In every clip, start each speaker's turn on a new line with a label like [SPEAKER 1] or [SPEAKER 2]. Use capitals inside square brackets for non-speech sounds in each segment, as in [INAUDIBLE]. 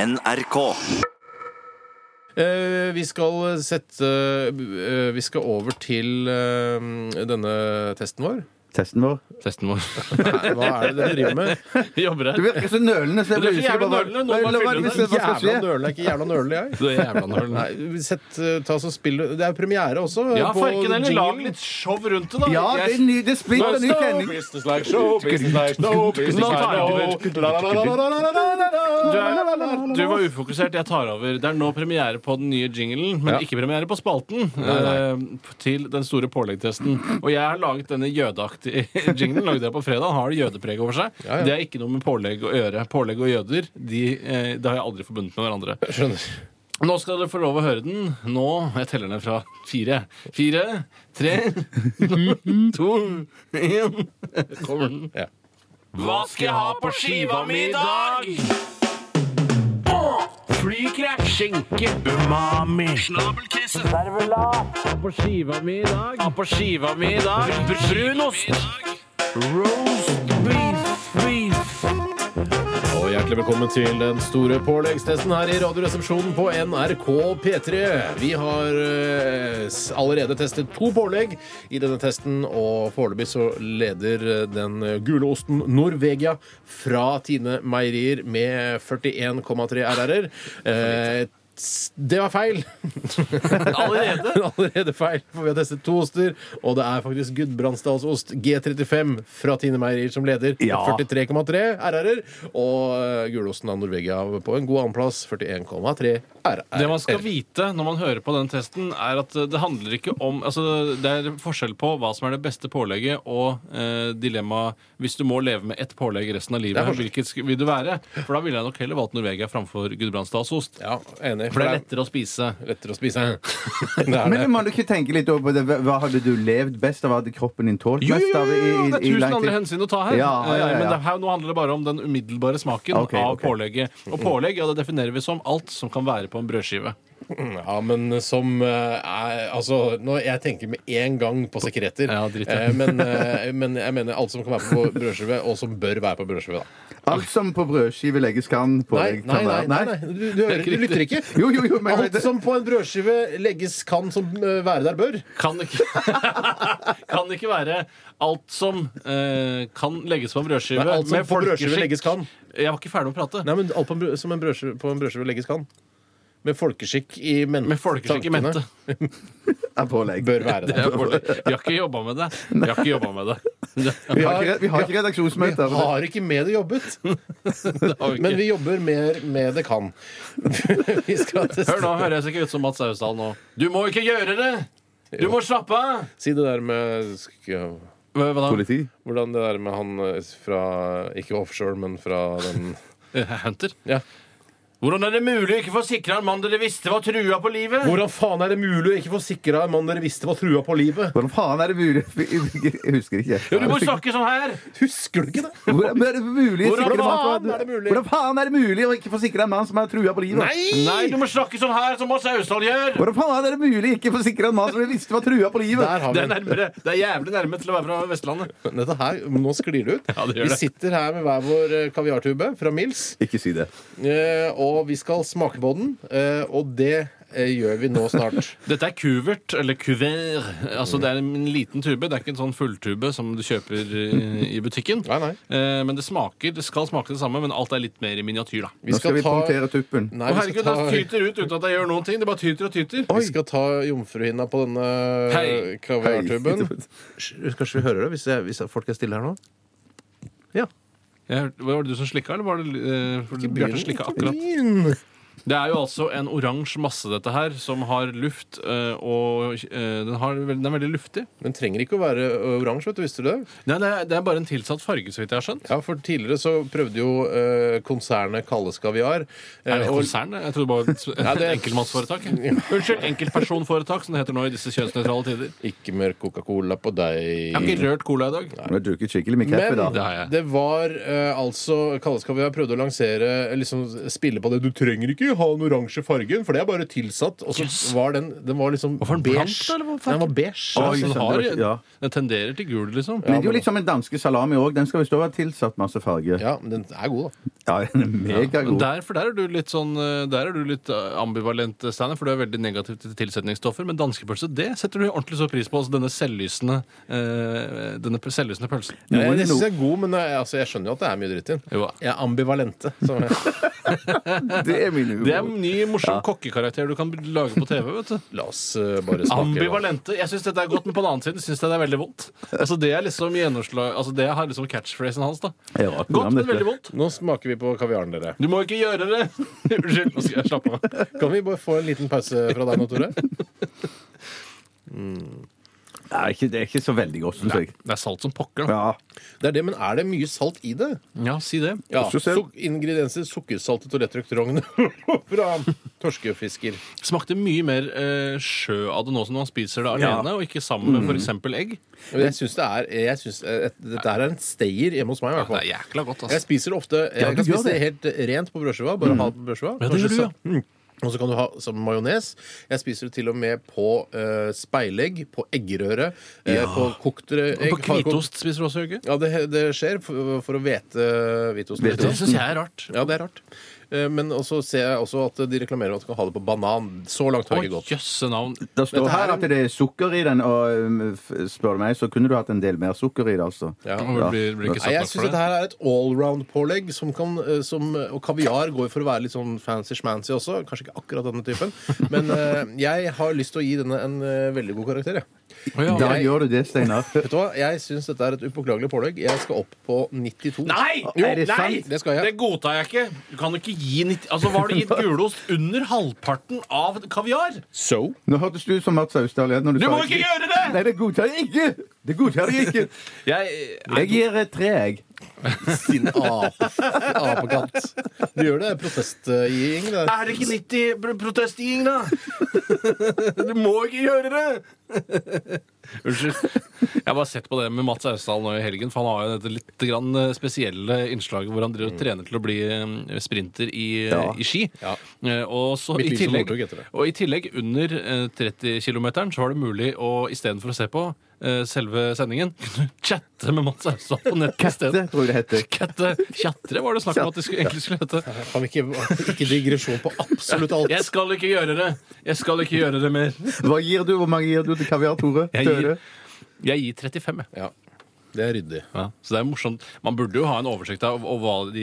[SPEAKER 1] NRK.
[SPEAKER 2] Eh, vi skal sette eh, Vi skal over til eh, denne testen vår.
[SPEAKER 3] Testen vår.
[SPEAKER 4] Testen [LAUGHS] vår.
[SPEAKER 2] Nei, Hva er det dere driver
[SPEAKER 4] [LAUGHS]
[SPEAKER 2] med?
[SPEAKER 4] Jobber
[SPEAKER 3] Du
[SPEAKER 4] her.
[SPEAKER 3] virker så nølende. Så jeg
[SPEAKER 4] Du
[SPEAKER 3] blir
[SPEAKER 4] er så
[SPEAKER 3] usikker på
[SPEAKER 4] jævla
[SPEAKER 3] hva-
[SPEAKER 4] nølende, nå
[SPEAKER 3] hva-
[SPEAKER 4] bare
[SPEAKER 3] hva-
[SPEAKER 4] fyller
[SPEAKER 3] hva-
[SPEAKER 4] du den.
[SPEAKER 3] hva skal
[SPEAKER 2] Jævla
[SPEAKER 3] skje.
[SPEAKER 2] nøler er ikke jævla nøler, jeg.
[SPEAKER 4] Du er jævla nølen.
[SPEAKER 2] Nei, sett, eh, ta så spill Det er premiere også.
[SPEAKER 4] [LAUGHS] Ja,
[SPEAKER 2] på
[SPEAKER 4] farken eller
[SPEAKER 2] jinglen.
[SPEAKER 4] lag litt show rundt det, da.
[SPEAKER 3] Ja, det er, ny, det er splitter ny kjenning.
[SPEAKER 2] Business like show, business like no, business
[SPEAKER 4] Nå
[SPEAKER 2] like
[SPEAKER 4] tar
[SPEAKER 2] no.
[SPEAKER 4] jeg over.
[SPEAKER 2] La, la, la, la, la, la, la, la.
[SPEAKER 4] Du, er, du var ufokusert, jeg tar over. Det er nå premiere på den nye jinglen, men
[SPEAKER 2] Ja.
[SPEAKER 4] ikke premiere på spalten. eh, til den store påleggtesten. Og jeg har laget denne jødeaktige [LAUGHS] jinglen. Lagde jeg på fredag. Har det jødepreg over seg.
[SPEAKER 2] Ja, ja.
[SPEAKER 4] Det er ikke noe med pålegg å gjøre. Pålegg og jøder de, eh, det har jeg aldri forbundet med hverandre.
[SPEAKER 2] Skjønner.
[SPEAKER 4] Nå skal dere få lov å høre den. Nå Jeg teller ned fra fire. Fire, tre, [LAUGHS] to, én Kommer den.
[SPEAKER 2] Ja.
[SPEAKER 4] Hva skal jeg ha på skiva mi i dag? Flykrekk, skinke, umami, snabelkrise, servelat. På skiva mi i dag. På skiva mi i dag. Brunost. Roast beef. Beef.
[SPEAKER 2] Og hjertelig velkommen til den store påleggstesten her i Radioresepsjonen på NRK P3. Vi har eh, s- allerede testet to pålegg i denne testen, og foreløpig så leder eh, den gule osten Norvegia fra Tine Meierier med 41,3 RR-er. Eh, s- det var feil!
[SPEAKER 4] Allerede?
[SPEAKER 2] [LAUGHS] Allerede feil, for vi har testet to oster. Og det er faktisk Gudbrandsdalsost G35 fra Tine Meierier som leder.
[SPEAKER 3] Ja.
[SPEAKER 2] 43,3 RR-er. Og eh, gulosten av Norvegia på en god annenplass. 41,3 RR.
[SPEAKER 4] Det man skal vite når man hører på den testen, er at det handler ikke om altså Det er forskjell på hva som er det beste pålegget og eh, dilemmaet hvis du må leve med ett pålegg resten av
[SPEAKER 2] Det er
[SPEAKER 4] livet.
[SPEAKER 2] forskjell.
[SPEAKER 4] Hvilket sk- vil du være? For da ville jeg nok heller valgt Norvegia framfor Gudbrandsdalsost.
[SPEAKER 2] Ja, enig.
[SPEAKER 4] For det er lettere å spise.
[SPEAKER 2] lettere å spise. det er det.
[SPEAKER 3] Men må du ikke tenke litt over på det? Hva- Hva hadde du levd best av? Hva hadde kroppen din tålt
[SPEAKER 4] Jo, jo,
[SPEAKER 3] best
[SPEAKER 4] jo,
[SPEAKER 3] av? i-
[SPEAKER 4] jo,
[SPEAKER 3] i-
[SPEAKER 4] det er
[SPEAKER 3] i
[SPEAKER 4] tusen
[SPEAKER 3] lang tid?
[SPEAKER 4] andre hensyn å ta her.
[SPEAKER 3] Ja, ja, ja,
[SPEAKER 4] Eh, Men
[SPEAKER 3] ja.
[SPEAKER 4] det, her, nå handler det bare om den umiddelbare smaken
[SPEAKER 3] Ok,
[SPEAKER 4] av
[SPEAKER 3] ok.
[SPEAKER 4] pålegget. Og pålegg ja, det definerer vi som alt som kan være på en brødskive.
[SPEAKER 2] Ja, men som eh, er, Altså, nå, jeg tenker med en gang på sekreter.
[SPEAKER 4] Ja, dritt, ja.
[SPEAKER 2] Eh, men, eh, men jeg mener alt som kan være på brødskive, og som bør være på brødskive. da.
[SPEAKER 3] Alt som på brødskive legges kan på
[SPEAKER 2] Nei,
[SPEAKER 3] deg.
[SPEAKER 2] nei, nei, nei, nei. Du, du, hører, du lytter ikke.
[SPEAKER 3] Jo, jo, jo, men-
[SPEAKER 2] Alt som på en brødskive legges, kan som eh, være der bør.
[SPEAKER 4] Kan ikke, [LAUGHS] kan ikke være alt som eh, kan legges på en brødskive
[SPEAKER 2] Nei, alt som
[SPEAKER 4] med
[SPEAKER 2] på brødskive
[SPEAKER 4] folkeskikk.
[SPEAKER 2] legges kan.
[SPEAKER 4] Jeg var ikke ferdig med å prate.
[SPEAKER 2] Nei, men alt på en brød, som en brødskive, på en brødskive legges kan. Med folkeskikk i mente.
[SPEAKER 4] Med folkeskikk i
[SPEAKER 2] tankene
[SPEAKER 4] mente.
[SPEAKER 3] Er pålegg.
[SPEAKER 2] Bør være
[SPEAKER 4] Det
[SPEAKER 2] der.
[SPEAKER 4] er bare- [LAUGHS] Vi har ikke jobba med det. Vi har ikke jobba med [LAUGHS] det.
[SPEAKER 3] Vi har ikke, re- vi har ikke
[SPEAKER 2] Vi
[SPEAKER 3] redaksjonsmøter.
[SPEAKER 2] har ikke med det jobbet,
[SPEAKER 4] det har vi
[SPEAKER 2] men
[SPEAKER 4] ikke.
[SPEAKER 2] vi jobber mer med det kan. [LAUGHS] vi skal
[SPEAKER 4] Hør
[SPEAKER 2] teste
[SPEAKER 4] nå, hører jeg seg ikke ut som Mats Austdal nå. Du må ikke gjøre det! Du må slappe av!
[SPEAKER 2] Si det der med sk-
[SPEAKER 4] Hva hva da?
[SPEAKER 3] Politi.
[SPEAKER 2] Hvordan det der med han eh, fra Ikke offshore, men fra den
[SPEAKER 4] Eh, Hunter?
[SPEAKER 2] Ja.
[SPEAKER 4] Hvordan er det mulig å ikke få sikra en mann dere visste var trua på livet?
[SPEAKER 2] Hvordan faen er det mulig å ikke få sikra en mann dere visste var trua på livet?
[SPEAKER 3] Hvordan faen er det mulig? [LAUGHS] Jeg husker ikke.
[SPEAKER 4] Jo, du må snakke sånn her!
[SPEAKER 2] Husker du ikke det?
[SPEAKER 3] Hvordan er det mulig? å sikre
[SPEAKER 4] Hvordan
[SPEAKER 3] en mann
[SPEAKER 2] faen
[SPEAKER 3] som
[SPEAKER 2] er det mulig?
[SPEAKER 3] Hvordan faen er det mulig å ikke forsikre en mann som er trua på livet?
[SPEAKER 4] Nei, du må snakke sånn her som Mats Austdal gjør!
[SPEAKER 3] Hvordan faen er det mulig å ikke forsikre en mann som jeg visste var trua på livet?
[SPEAKER 2] [LAUGHS] Der har
[SPEAKER 4] Det
[SPEAKER 2] vi
[SPEAKER 4] er nærmere. Det er jævlig nærme til å være fra Vestlandet.
[SPEAKER 2] Dette her, Nå sklir det ut.
[SPEAKER 4] Ja, det gjør
[SPEAKER 2] vi
[SPEAKER 4] det.
[SPEAKER 2] sitter her med hver vår eh, kaviartube fra Mills,
[SPEAKER 3] Ikke si det.
[SPEAKER 2] eh, og vi skal smake på den. eh, Og det eh, gjør vi nå snart.
[SPEAKER 4] Dette er kuvert, eller kuvert. Altså, det er en liten tube. Det er ikke en sånn fulltube som du kjøper eh, i butikken.
[SPEAKER 2] [LAUGHS] Nei, nei.
[SPEAKER 4] Eh, Men det smaker, det skal smake det samme, men alt er litt mer i miniatyr, da.
[SPEAKER 2] Vi
[SPEAKER 3] Nå skal vi punktere tuppen.
[SPEAKER 2] Nei,
[SPEAKER 4] Å,
[SPEAKER 2] vi
[SPEAKER 4] herregud,
[SPEAKER 2] skal
[SPEAKER 4] det
[SPEAKER 2] ta,
[SPEAKER 4] tyter ut uten at jeg gjør noen ting. Det bare tyter og tyter.
[SPEAKER 2] vi skal ta jomfruhinna på denne eh,
[SPEAKER 4] Hei.
[SPEAKER 2] kaviartuben. [LAUGHS] Kanskje vi hører det, hvis, jeg, hvis folk er stille her nå? Ja.
[SPEAKER 4] Jeg, hørte- var det du som slikka, eller var det eh, for Bjarte slikka akkurat?
[SPEAKER 2] Byen.
[SPEAKER 4] Det er jo altså en oransje masse, dette her, som har luft, eh, og eh, den, har, vel- den er veldig luftig.
[SPEAKER 2] Den trenger ikke å være eh, oransje, vet du. Visste du det?
[SPEAKER 4] Nei, det er, det er bare en tilsatt farge, så vidt jeg har skjønt.
[SPEAKER 2] Ja, for Tidligere så prøvde jo eh, konsernet Kalles Kaviar eh,
[SPEAKER 4] Er det
[SPEAKER 2] å-
[SPEAKER 4] konsern? Jeg trodde bare
[SPEAKER 2] Ja, det er-
[SPEAKER 4] enkeltmannsforetak. jeg. Unnskyld, enkeltpersonforetak, som det heter nå i disse kjønnsnøytrale tider.
[SPEAKER 2] Ikke mer Coca-Cola på
[SPEAKER 4] Jeg har
[SPEAKER 2] deg.
[SPEAKER 4] ikke rørt cola i dag.
[SPEAKER 3] Du har drukket skikkelig med kaffe,
[SPEAKER 2] Men
[SPEAKER 3] da.
[SPEAKER 4] Det har jeg.
[SPEAKER 2] det var eh, altså Kalles Kaviar prøvde å lansere eh, liksom spille på det. Du trenger ikke ikke ha den oransje fargen, for det er bare tilsatt. Og så var den, den var liksom
[SPEAKER 4] Hvorfor den blank, da, eller hvorfor?
[SPEAKER 2] Nei, den var beige.
[SPEAKER 4] Ja,
[SPEAKER 3] Oi,
[SPEAKER 4] så den,
[SPEAKER 3] sant,
[SPEAKER 4] har,
[SPEAKER 3] det var- ja.
[SPEAKER 4] den tenderer til gul, liksom.
[SPEAKER 3] Men det er jo litt som en danske salami òg. Den skal visst også ha tilsatt masse farge.
[SPEAKER 2] Ja, men den er god, da.
[SPEAKER 3] Ja, den er
[SPEAKER 4] Men
[SPEAKER 3] megagod.
[SPEAKER 4] Der, for der er du litt sånn eh, Der er du litt eh, ambivalent, eh, Steiner, for du er veldig negativ til tilsetningsstoffer. Men danskepølse, det setter du ordentlig så pris på. Altså denne selvlysende eh, Denne p- selvlysende pølsen.
[SPEAKER 2] Jeg,
[SPEAKER 3] Noen-
[SPEAKER 2] jeg synes
[SPEAKER 3] noen-
[SPEAKER 2] den er god, men jeg, altså, jeg skjønner jo at det er mye dritt i den.
[SPEAKER 4] Jo.
[SPEAKER 2] Jeg er ambivalente. Så
[SPEAKER 3] Det er min
[SPEAKER 4] Det er
[SPEAKER 3] uro.
[SPEAKER 4] en ny, morsom kokkekarakter du kan lage på TV. vet du
[SPEAKER 2] [LAUGHS] la oss eh, bare smake.
[SPEAKER 4] Ambivalente. Jeg syns dette er godt, men på den annen side syns jeg det er veldig vondt. Altså Det er liksom gjennomslag Altså det har liksom catchphrasen hans. da
[SPEAKER 3] Det er rart program,
[SPEAKER 4] Godt, men
[SPEAKER 3] dette.
[SPEAKER 4] veldig vondt.
[SPEAKER 2] Nå smaker vi på kaviaren, dere.
[SPEAKER 4] Du må ikke gjøre det! [LAUGHS] Unnskyld. Nå skal jeg slappe av.
[SPEAKER 2] Kan vi bare få en liten pause fra deg nå, Tore?
[SPEAKER 3] Nei, ikke- Det er ikke så veldig godt, syns jeg.
[SPEAKER 4] Det er salt som pokker, da.
[SPEAKER 3] Ja.
[SPEAKER 2] Det er det, men er det mye salt i det?
[SPEAKER 4] Ja, si det.
[SPEAKER 2] Ja,
[SPEAKER 3] Skal vi se.
[SPEAKER 2] suk Ingredienser sukkersaltet og lettrøkt rogn [LAUGHS] fra torskefisker.
[SPEAKER 4] Smakte mye mer eh, sjø av det nå som man spiser det alene, og ikke sammen
[SPEAKER 2] Mm.
[SPEAKER 4] med f.eks. egg.
[SPEAKER 2] Men Jeg syns det er jeg synes, eh, Dette her er en stayer hjemme hos meg, i hvert
[SPEAKER 4] Det er
[SPEAKER 2] fall.
[SPEAKER 4] jækla godt,
[SPEAKER 2] Jeg
[SPEAKER 4] altså.
[SPEAKER 2] spiser det ofte eh, Jeg
[SPEAKER 3] du
[SPEAKER 2] kan
[SPEAKER 3] gjør
[SPEAKER 2] spise det helt rent på brødskiva. Bare ha det på brødskiva.
[SPEAKER 4] Mm. Ja, det gjør
[SPEAKER 2] Kanskje
[SPEAKER 4] du, ja.
[SPEAKER 2] sa- Mm. Og så kan du ha som majones. Jeg spiser det til og med på eh, speilegg, på eggerøre, eh, på kokte egg.
[SPEAKER 4] Og på hvitost spiser du også, gjør du ikke?
[SPEAKER 2] Ja, det, det skjer for, for å hvete hvitost.
[SPEAKER 3] Hvete.
[SPEAKER 4] Det syns jeg er rart.
[SPEAKER 2] Ja, det er rart. Eh, Men også ser jeg også at de reklamerer at du kan ha det på banan. Så langt har
[SPEAKER 4] Å,
[SPEAKER 2] jeg ikke gått.
[SPEAKER 4] jøsse navn.
[SPEAKER 3] Det står
[SPEAKER 2] Dette her
[SPEAKER 3] her
[SPEAKER 2] er
[SPEAKER 3] at det er sukker i den, og um, f- spør du meg, så kunne du hatt en del mer sukker i det, altså.
[SPEAKER 2] Ja.
[SPEAKER 4] Det Blir, blir ikke
[SPEAKER 2] Nei,
[SPEAKER 4] satt
[SPEAKER 2] jeg
[SPEAKER 4] nok
[SPEAKER 2] syns
[SPEAKER 4] for
[SPEAKER 2] dette
[SPEAKER 4] det.
[SPEAKER 2] her er et allround-pålegg. Som kan, eh, som, og kaviar går for å være litt sånn fancy-schmancy også. Kanskje ikke akkurat denne typen. [LAUGHS] Men eh, jeg har lyst til å gi denne en eh, veldig god karakter. Jeg.
[SPEAKER 4] Å, ja.
[SPEAKER 3] Da
[SPEAKER 2] Jeg-
[SPEAKER 3] gjør du det, Steinar.
[SPEAKER 2] Vet du hva? Jeg syns dette er et upåklagelig pålegg. Jeg skal opp på 92.
[SPEAKER 4] Nei!
[SPEAKER 2] Jo,
[SPEAKER 3] Er det
[SPEAKER 4] nei!
[SPEAKER 3] sant?
[SPEAKER 2] Det skal jeg.
[SPEAKER 4] Det godtar jeg ikke. Du kan jo ikke gi 90 Altså, Hva har du gitt gulost under halvparten av kaviar?
[SPEAKER 2] So?
[SPEAKER 3] Nå hørtes du ut som Mats Austdal igjen. når
[SPEAKER 4] Du må
[SPEAKER 3] sa-
[SPEAKER 4] ikke gjøre det!
[SPEAKER 3] Nei, det godtar jeg ikke! Det godtar jeg ikke.
[SPEAKER 4] Jeg,
[SPEAKER 3] Jeg gir et tre, jeg.
[SPEAKER 2] Din ape, apekatt. Du gjør det protestgiving. det.
[SPEAKER 4] er det ikke 90 pr- protestgiving, da? [LAUGHS] Du må ikke gjøre det! [LAUGHS] Unnskyld. Jeg har bare sett på det med Mats Austdal nå i helgen. For han har jo dette litt grann eh, spesielle innslaget hvor han driver og trener til å bli eh, sprinter i,
[SPEAKER 3] Ja.
[SPEAKER 4] i ski.
[SPEAKER 2] Ja.
[SPEAKER 4] Eh, Og, så,
[SPEAKER 2] Mitt
[SPEAKER 4] i
[SPEAKER 2] liv som
[SPEAKER 4] tillegg,
[SPEAKER 2] overtok heter det.
[SPEAKER 4] og i tillegg, under 30-kilometeren, så var det mulig å istedenfor å se på eh, selve sendingen, [LAUGHS] kunne chatte med Mats Austdal på nettet
[SPEAKER 3] Det
[SPEAKER 4] isteden.
[SPEAKER 3] tror jeg det heter.
[SPEAKER 4] Katte. Tjatre var det snakk om at det skulle, egentlig skulle hete.
[SPEAKER 2] Kan vi ikke, ikke digresjon på absolutt alt?
[SPEAKER 4] Jeg skal ikke gjøre det! Jeg skal ikke gjøre det mer.
[SPEAKER 3] Hva gir du? Hvor mange gir du til kaviar, Tore?
[SPEAKER 4] Jeg gir-
[SPEAKER 3] Tøre?
[SPEAKER 4] Jeg gir 35, jeg.
[SPEAKER 2] Ja, det er ryddig.
[SPEAKER 4] Ja. Så det er morsomt. Man burde jo ha en oversikt av av hva de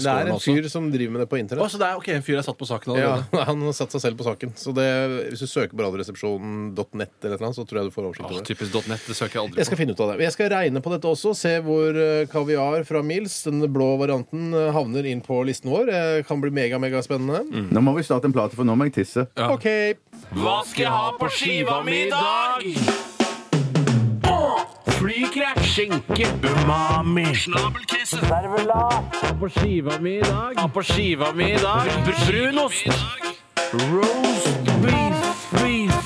[SPEAKER 2] Det er
[SPEAKER 4] scorene
[SPEAKER 2] en
[SPEAKER 4] også.
[SPEAKER 2] fyr som driver med det på
[SPEAKER 4] Å,
[SPEAKER 2] internett.
[SPEAKER 4] så det er ok, en fyr er satt på saken
[SPEAKER 2] Ja,
[SPEAKER 4] allerede.
[SPEAKER 2] [LAUGHS] Han har satt seg selv på saken. Så det, Hvis du søker på radioresepsjonen.net, eller noe, så tror jeg du får oversikt
[SPEAKER 4] Åh,
[SPEAKER 2] over det.
[SPEAKER 4] typisk .net, det søker jeg aldri
[SPEAKER 2] Jeg skal finne ut av det. Jeg skal regne på dette også. Se hvor eh, kaviar fra Mills, den blå varianten, eh, havner inn på listen vår. Det kan bli mega-megaspennende.
[SPEAKER 4] Mm.
[SPEAKER 3] Nå må vi starte en plate, for nå må jeg tisse.
[SPEAKER 2] OK.
[SPEAKER 4] Hva skal jeg ha på skiva mi i dag? Flykrekk, skinke, umami, snabelkrise, servelat. På skiva mi i dag. På skiva mi i dag. Brunost. Roast beef, beef.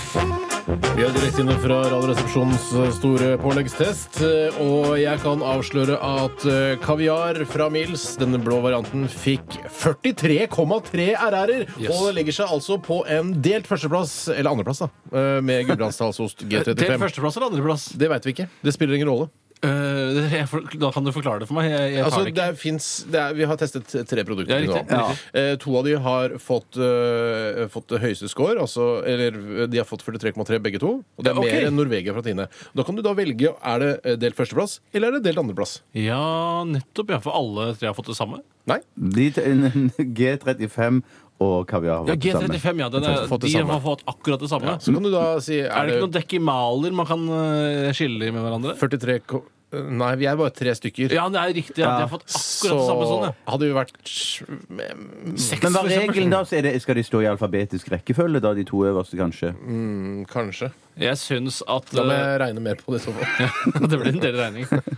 [SPEAKER 2] Vi er direkte inne fra Radioresepsjonens eh, store påleggstest. eh, Og jeg kan avsløre at eh, kaviar fra Mills, denne blå varianten, fikk 43,3 RR-er.
[SPEAKER 4] Yes.
[SPEAKER 2] Og det legger seg altså på en delt førsteplass, eller andreplass, da, eh, med Gudbrandsdalsost
[SPEAKER 4] Til
[SPEAKER 2] G35.
[SPEAKER 4] førsteplass eller andreplass?
[SPEAKER 2] Det veit vi ikke. Det spiller ingen rolle.
[SPEAKER 4] Eh, jeg for, da kan du forklare det for meg. Jeg, jeg tar
[SPEAKER 2] Altså,
[SPEAKER 4] det ikke.
[SPEAKER 2] det finnes, det er, vi har testet tre produkter
[SPEAKER 4] Ja,
[SPEAKER 2] nå.
[SPEAKER 4] riktig,
[SPEAKER 2] Eh, to av de har fått, eh, fått høyeste score, altså, eller eh, de har fått 43,3 begge to. Og det er
[SPEAKER 4] Ja, ok.
[SPEAKER 2] mer enn Norvegia fra Tine. Da kan du da velge er det eh, delt førsteplass eller er det delt andreplass.
[SPEAKER 4] Ja, nettopp. Ja, for alle tre har fått det samme.
[SPEAKER 2] Nei.
[SPEAKER 3] De t- en- en G35 og kaviar. var
[SPEAKER 4] Ja,
[SPEAKER 3] det samme.
[SPEAKER 4] G35, ja. Den
[SPEAKER 2] har
[SPEAKER 4] er,
[SPEAKER 2] fått det
[SPEAKER 4] de
[SPEAKER 2] samme.
[SPEAKER 4] har fått akkurat det samme.
[SPEAKER 2] Så kan du da si
[SPEAKER 4] Er
[SPEAKER 2] er
[SPEAKER 4] det ikke noen
[SPEAKER 2] det
[SPEAKER 4] dekimaler man kan eh, skille med hverandre?
[SPEAKER 2] 43 ko- eh, Nei, vi er bare tre stykker.
[SPEAKER 4] Ja, det er riktig. Ja. De har fått akkurat det samme sånn, ja.
[SPEAKER 2] hadde vi vært
[SPEAKER 4] Seks,
[SPEAKER 3] Men hva
[SPEAKER 4] for
[SPEAKER 3] er
[SPEAKER 4] eksempel.
[SPEAKER 3] regelen da? Så er det, skal de stå i alfabetisk rekkefølge, da, de to øverste, kanskje?
[SPEAKER 2] mm, Kanskje.
[SPEAKER 4] Jeg syns at
[SPEAKER 2] Da må
[SPEAKER 4] eh, [LAUGHS]
[SPEAKER 2] jeg regne mer på [LAUGHS] det i så fall.
[SPEAKER 4] Det blir en del regning.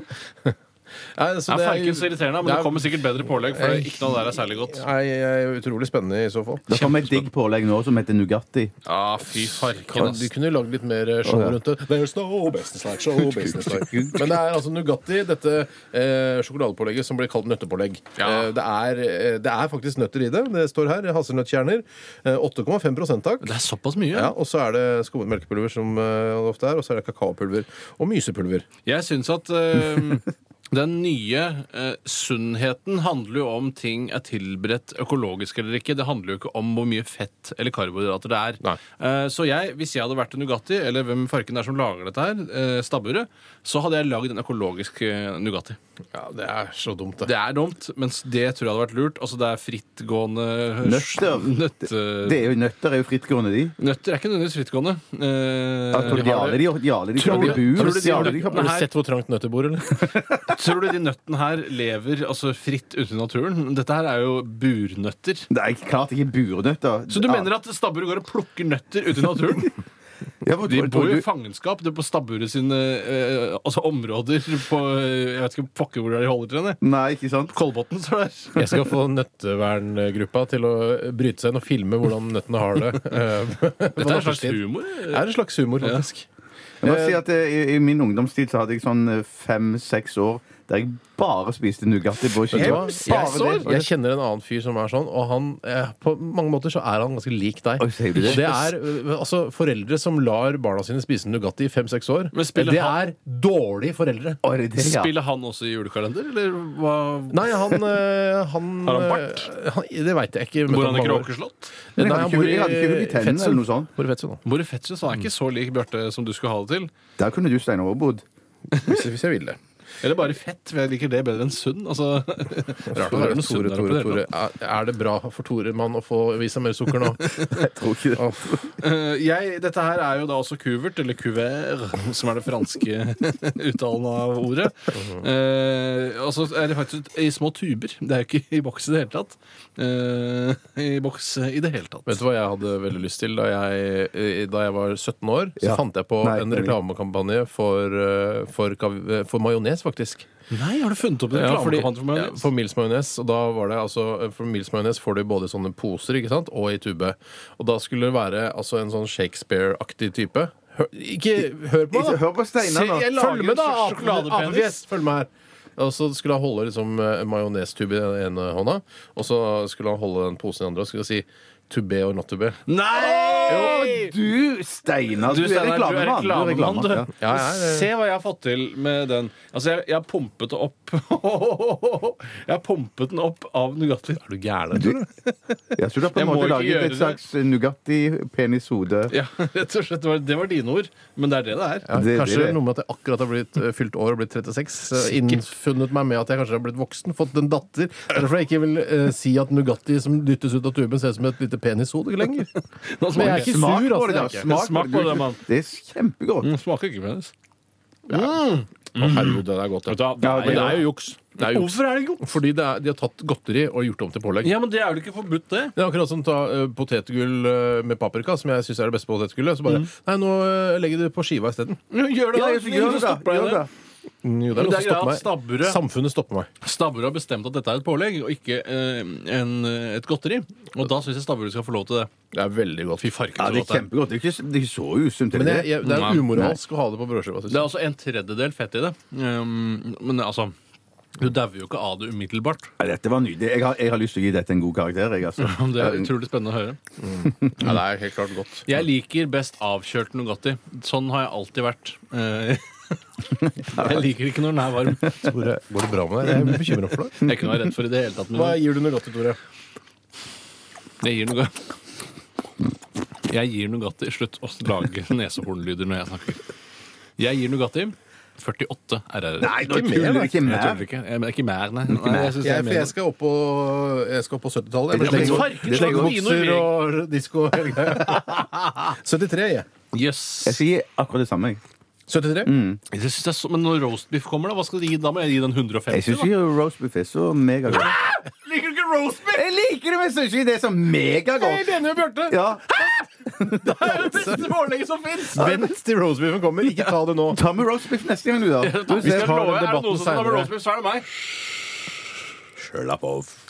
[SPEAKER 2] Nei, så
[SPEAKER 4] Det er farken så
[SPEAKER 2] det er-
[SPEAKER 4] irriterende, men det kommer sikkert bedre pålegg, for det er ikke noe der er særlig godt.
[SPEAKER 2] Nei, jeg er utrolig spennende i så fall.
[SPEAKER 3] Det kommer et digg pålegg nå som heter Nugatti.
[SPEAKER 4] Ja, Ah, fy farken,
[SPEAKER 2] Kan,
[SPEAKER 4] ass.
[SPEAKER 2] du kunne lagd litt mer eh, show
[SPEAKER 3] Å, ja.
[SPEAKER 2] rundt det. There's no business like show business like. Men det er altså Nugatti, dette eh, sjokoladepålegget som blir kalt nøttepålegg.
[SPEAKER 4] Ja.
[SPEAKER 2] Eh, det, er, eh, det er faktisk nøtter i det. Det står her. Hasselnøttkjerner. Eh, 8,5 takk.
[SPEAKER 4] Det er såpass mye.
[SPEAKER 2] Ja, og så er det skummet melkepulver, som eh, det ofte er, og så er det kakaopulver og mysepulver.
[SPEAKER 4] Jeg syns at eh, den nye eh, sunnheten handler jo om ting er tilberedt økologisk eller ikke. Det handler jo ikke om hvor mye fett eller karbohydrater det er.
[SPEAKER 2] Nei.
[SPEAKER 4] Eh, så jeg, hvis jeg hadde vært en Nugatti, eller hvem farken det er som lager dette her, uh, stabburet, så hadde jeg lagd en økologisk uh, Nugatti.
[SPEAKER 2] Ja, det er så dumt,
[SPEAKER 4] Det er dumt, mens det tror jeg hadde vært lurt. Altså det er frittgående eh,
[SPEAKER 3] Nøtter.
[SPEAKER 4] [LAUGHS] Nøtte,
[SPEAKER 3] Det er jo Nøtter er jo frittgående, de.
[SPEAKER 4] nøtter er ikke nødvendigvis frittgående. Eh,
[SPEAKER 3] Ja, tror du
[SPEAKER 4] vi
[SPEAKER 3] de
[SPEAKER 4] Eh, har-
[SPEAKER 3] aler de, de aler de
[SPEAKER 4] Tror
[SPEAKER 3] fra
[SPEAKER 4] du- tror
[SPEAKER 3] bur?
[SPEAKER 4] du de-
[SPEAKER 3] De aler de fra
[SPEAKER 2] Har
[SPEAKER 3] bur.
[SPEAKER 2] du
[SPEAKER 4] her-
[SPEAKER 2] sett hvor trangt nøttet bor, eller?
[SPEAKER 4] Tror du de nøttene her lever altså, fritt ute i naturen? Dette her er jo burnøtter.
[SPEAKER 3] Nei, klart ikke burnøtter.
[SPEAKER 4] Så du mener at stabburet går og plukker nøtter ute i naturen?
[SPEAKER 3] ja, hvor-
[SPEAKER 4] [LAUGHS] De
[SPEAKER 3] hvor-
[SPEAKER 4] bor
[SPEAKER 3] hvor-
[SPEAKER 4] jo i fangenskap det er på stabburet sine eh, altså områder på eh, Jeg vet ikke pokker hvor det er de holder til henne.
[SPEAKER 3] Nei, ikke sant?
[SPEAKER 4] Kolbotn står der.
[SPEAKER 2] Jeg skal få nøtteverngruppa til å bryte seg inn og filme hvordan nøttene har
[SPEAKER 4] [LAUGHS]
[SPEAKER 2] det.
[SPEAKER 4] Dette er en slags humor.
[SPEAKER 2] Det er en slags humor, faktisk.
[SPEAKER 3] Jeg må si at eh, i, I min ungdomstid så hadde jeg sånn fem-seks år der jeg bare spiste Nugatti. på skiva.
[SPEAKER 2] Vet du hva?
[SPEAKER 3] Bare
[SPEAKER 2] Jeg,
[SPEAKER 3] det.
[SPEAKER 2] jeg kjenner en annen fyr som er sånn, og han, eh, på mange måter så er han ganske lik deg.
[SPEAKER 3] Oi, sier du
[SPEAKER 2] Og
[SPEAKER 3] det?
[SPEAKER 2] det er eh, altså, foreldre som lar barna sine spise Nugatti i fem-seks år.
[SPEAKER 4] Men spiller
[SPEAKER 2] Det
[SPEAKER 4] han-
[SPEAKER 2] er dårlige foreldre.
[SPEAKER 3] Å, er det det, ja?
[SPEAKER 4] Spiller han også i julekalender, eller hva?
[SPEAKER 2] Nei, han, eh, han
[SPEAKER 4] Har han bart?
[SPEAKER 2] eh, han- Det veit jeg ikke.
[SPEAKER 4] Bor han i
[SPEAKER 2] Men han-
[SPEAKER 4] Kråkeslott?
[SPEAKER 2] Nei,
[SPEAKER 3] Men jeg
[SPEAKER 2] han
[SPEAKER 3] hadde
[SPEAKER 2] bor
[SPEAKER 3] ikke- jeg hadde ikke hull
[SPEAKER 2] i
[SPEAKER 3] i tennene
[SPEAKER 2] Fetsund.
[SPEAKER 3] eller noe sånt.
[SPEAKER 2] Bor i Fetsund, da.
[SPEAKER 4] Bor i Fetsund, så han er ikke så lik Bjarte som du skulle ha det til.
[SPEAKER 3] Der kunne du, Steinar, også bodd.
[SPEAKER 2] Hvis, hvis jeg vil det.
[SPEAKER 4] Eller bare fett, for jeg liker det bedre enn sunn. Altså, rart å
[SPEAKER 2] Tore,
[SPEAKER 4] være
[SPEAKER 2] Tore,
[SPEAKER 4] noe sunn der
[SPEAKER 2] Tore,
[SPEAKER 4] oppe. i det hele tatt.
[SPEAKER 2] Tore. Er er det bra for Tore-mann å få i seg mer sukker nå?
[SPEAKER 3] [LAUGHS] Jeg tror ikke det.
[SPEAKER 4] Eh, jeg, dette her er jo da også kuvert, eller kuvert, [LAUGHS] som er det franske [LAUGHS] uttalen av ordet.
[SPEAKER 2] Mhm.
[SPEAKER 4] Eh, og så er det faktisk i små tuber. Det er jo ikke i boks i det hele tatt. Eh, I boks i det hele tatt.
[SPEAKER 2] Vet du hva jeg hadde veldig lyst til da jeg, eh, da jeg var 17 år? Så
[SPEAKER 3] Ja.
[SPEAKER 2] fant jeg på
[SPEAKER 3] Nei,
[SPEAKER 2] en
[SPEAKER 3] enig.
[SPEAKER 2] reklamekampanje for, eh, for, kav- eh, for majones, faktisk.
[SPEAKER 4] Nei, har du funnet opp en
[SPEAKER 2] Ja, fordi,
[SPEAKER 4] reklamekampanje for
[SPEAKER 2] ja,
[SPEAKER 4] majones?
[SPEAKER 2] for Mils majones. Og da var det altså eh, For Mils majones får du både i sånne poser ikke sant? og i tube. Og da skulle det være altså, en sånn Shakespeare-aktig type. Hør, ikke hør på meg,
[SPEAKER 3] Ikke
[SPEAKER 2] da!
[SPEAKER 3] hør på Steinar,
[SPEAKER 2] Se-
[SPEAKER 3] da.
[SPEAKER 2] jeg
[SPEAKER 4] Følg
[SPEAKER 2] lager
[SPEAKER 4] med,
[SPEAKER 2] med,
[SPEAKER 4] da,
[SPEAKER 2] da!
[SPEAKER 4] apen-
[SPEAKER 2] Apefjes! Følg med her. Og så skulle han holde liksom, eh, en majonestube i den ene hånda, og så skulle han holde den posen i den andre og skulle si to be or not to be.
[SPEAKER 4] Nei!
[SPEAKER 3] Du, Steinar, du, er
[SPEAKER 4] Steinar, du er
[SPEAKER 3] reklamemann. Du er
[SPEAKER 4] reklamemann,
[SPEAKER 3] reklamemann.
[SPEAKER 4] du.
[SPEAKER 3] Ja.
[SPEAKER 2] Ja, jeg er det.
[SPEAKER 4] Se hva jeg har fått til med den. Altså, jeg, jeg har pumpet det opp [LAUGHS] Jeg har pumpet den opp av Nugatti. Er du gæren?
[SPEAKER 3] Du- Jeg tror du har på
[SPEAKER 4] Jeg
[SPEAKER 3] en
[SPEAKER 4] må
[SPEAKER 3] måte
[SPEAKER 4] ikke
[SPEAKER 3] laget
[SPEAKER 4] gjøre
[SPEAKER 3] et
[SPEAKER 4] det.
[SPEAKER 3] slags eh, Nugatti-penishode.
[SPEAKER 4] Ja, [LAUGHS] rett og slett. Det var, det var dine ord, men det er det det er.
[SPEAKER 2] Ja,
[SPEAKER 3] Det- det-
[SPEAKER 2] kanskje
[SPEAKER 3] det-
[SPEAKER 2] noe med at jeg akkurat har blitt eh, fylt år og blitt 36. så jeg har Innfunnet meg med at jeg kanskje har blitt voksen, fått en datter. Det er Derfor jeg ikke vil eh, si at Nugatti som dyttes ut av tuben, ser ut som et lite penishode lenger.
[SPEAKER 4] Nå
[SPEAKER 2] Men jeg er
[SPEAKER 4] smaker-
[SPEAKER 2] ikke
[SPEAKER 3] Smak
[SPEAKER 2] sur,
[SPEAKER 3] på
[SPEAKER 2] altså.
[SPEAKER 3] det, da.
[SPEAKER 2] jeg er ikke.
[SPEAKER 3] Smak,
[SPEAKER 4] Smak på det, mann. Mm.
[SPEAKER 3] Det er kjempegodt.
[SPEAKER 4] Den smaker ikke penis.
[SPEAKER 2] Å, herregud, det er godt.
[SPEAKER 4] Vet
[SPEAKER 2] det.
[SPEAKER 4] du hva, det er
[SPEAKER 2] men det
[SPEAKER 4] jo-
[SPEAKER 2] er jo juks. Det er juks.
[SPEAKER 4] Hvorfor er det godt?
[SPEAKER 2] Fordi det er, de har tatt godteri og gjort det om til pålegg.
[SPEAKER 4] Ja, men Det er vel ikke forbudt, det?
[SPEAKER 2] Det er akkurat som ta eh, potetgull eh, med paprika, som jeg syns er det beste potetgullet. Så bare Nei, nå eh, legger du det på skiva isteden.
[SPEAKER 4] Gjør det, da!
[SPEAKER 3] Ja,
[SPEAKER 4] så lenge
[SPEAKER 3] gjør
[SPEAKER 4] du
[SPEAKER 3] det, da.
[SPEAKER 4] stopper deg
[SPEAKER 3] Gjør
[SPEAKER 4] i det.
[SPEAKER 3] det.
[SPEAKER 2] Mm, Jo, det
[SPEAKER 4] Men
[SPEAKER 2] er noe
[SPEAKER 4] det
[SPEAKER 2] som
[SPEAKER 4] er
[SPEAKER 2] stopper
[SPEAKER 4] greit,
[SPEAKER 2] meg.
[SPEAKER 4] stabburet-
[SPEAKER 2] Samfunnet stopper meg.
[SPEAKER 4] Stabburet har bestemt at dette er et pålegg og ikke eh, en, et godteri. Og da syns jeg stabburet skal få lov til det.
[SPEAKER 2] Det er veldig godt.
[SPEAKER 4] Fy farken,
[SPEAKER 3] Ja,
[SPEAKER 4] så
[SPEAKER 3] det
[SPEAKER 4] godt
[SPEAKER 3] er
[SPEAKER 4] det er.
[SPEAKER 3] kjempegodt. Det er ikke, det er ikke så usunt. er
[SPEAKER 2] Men
[SPEAKER 3] det
[SPEAKER 2] jeg,
[SPEAKER 3] det?
[SPEAKER 2] jeg, det
[SPEAKER 4] Nei.
[SPEAKER 2] er umoralsk å ha det på brødskiva. synes
[SPEAKER 4] Det er
[SPEAKER 2] jeg.
[SPEAKER 4] altså en tredjedel fett i det. Um, men altså du dauer jo ikke av det umiddelbart.
[SPEAKER 3] Nei, dette var nydelig. Jeg har, jeg har lyst til å gi dette en god karakter. Jeg, altså.
[SPEAKER 4] Det er utrolig spennende å høre.
[SPEAKER 2] Ja, det er helt klart godt.
[SPEAKER 4] Jeg liker best avkjølt Nugatti. Sånn har jeg alltid vært. Eh, [LAUGHS] jeg liker ikke når den er varm.
[SPEAKER 2] Tore, går det bra med deg? Jeg er bekymra for deg.
[SPEAKER 4] Jeg er ikke noe redd for i det hele tatt.
[SPEAKER 2] Hva
[SPEAKER 4] Men
[SPEAKER 2] gir du Nugatti, Tore?
[SPEAKER 4] jeg gir noe Jeg gir Nugatti Slutt å lage nesehornlyder når jeg snakker. Jeg gir Nugatti 48 RR.
[SPEAKER 3] Nei, nå
[SPEAKER 2] Ikke mer,
[SPEAKER 3] tuller
[SPEAKER 2] da.
[SPEAKER 3] du ikke
[SPEAKER 4] Jeg
[SPEAKER 3] mer.
[SPEAKER 4] tuller ikke. Jeg, men ikke mer, nei. nei jeg synes det
[SPEAKER 2] Jeg,
[SPEAKER 4] er
[SPEAKER 2] for
[SPEAKER 4] mer.
[SPEAKER 2] jeg skal opp på, jeg skal opp på 70-tallet.
[SPEAKER 3] Ja,
[SPEAKER 2] Jeg
[SPEAKER 3] men
[SPEAKER 2] med
[SPEAKER 3] farken,
[SPEAKER 2] slengbokser-
[SPEAKER 3] slag og
[SPEAKER 2] Slengbokser og disko. og hele [LAUGHS] greia. 73, jeg.
[SPEAKER 4] Yes.
[SPEAKER 3] Jeg skal gi akkurat det samme. jeg.
[SPEAKER 2] 73?
[SPEAKER 4] Jeg synes det er så, men når roastbiff kommer, da, hva skal du gi da? Må jeg gi den 150?
[SPEAKER 3] Jeg syns
[SPEAKER 4] da?
[SPEAKER 3] ikke roast beef er så megagodt.
[SPEAKER 4] Liker du ikke roastbiff?
[SPEAKER 3] Jeg liker det, men jeg syns ikke det er så megagodt.
[SPEAKER 2] Enig med Bjarte!
[SPEAKER 3] Ja. Det er jo det beste pålegget som fins! Vent til roastbeefen kommer. Ikke ta det nå.
[SPEAKER 4] Ta med roastbiff neste gang, du, da. Du
[SPEAKER 3] Vi
[SPEAKER 4] ser-
[SPEAKER 3] skal
[SPEAKER 4] tar
[SPEAKER 3] love,
[SPEAKER 4] den
[SPEAKER 3] er det
[SPEAKER 4] debatten
[SPEAKER 3] noen som tar med
[SPEAKER 4] senere.
[SPEAKER 3] roastbeef, så er det meg. Slapp av.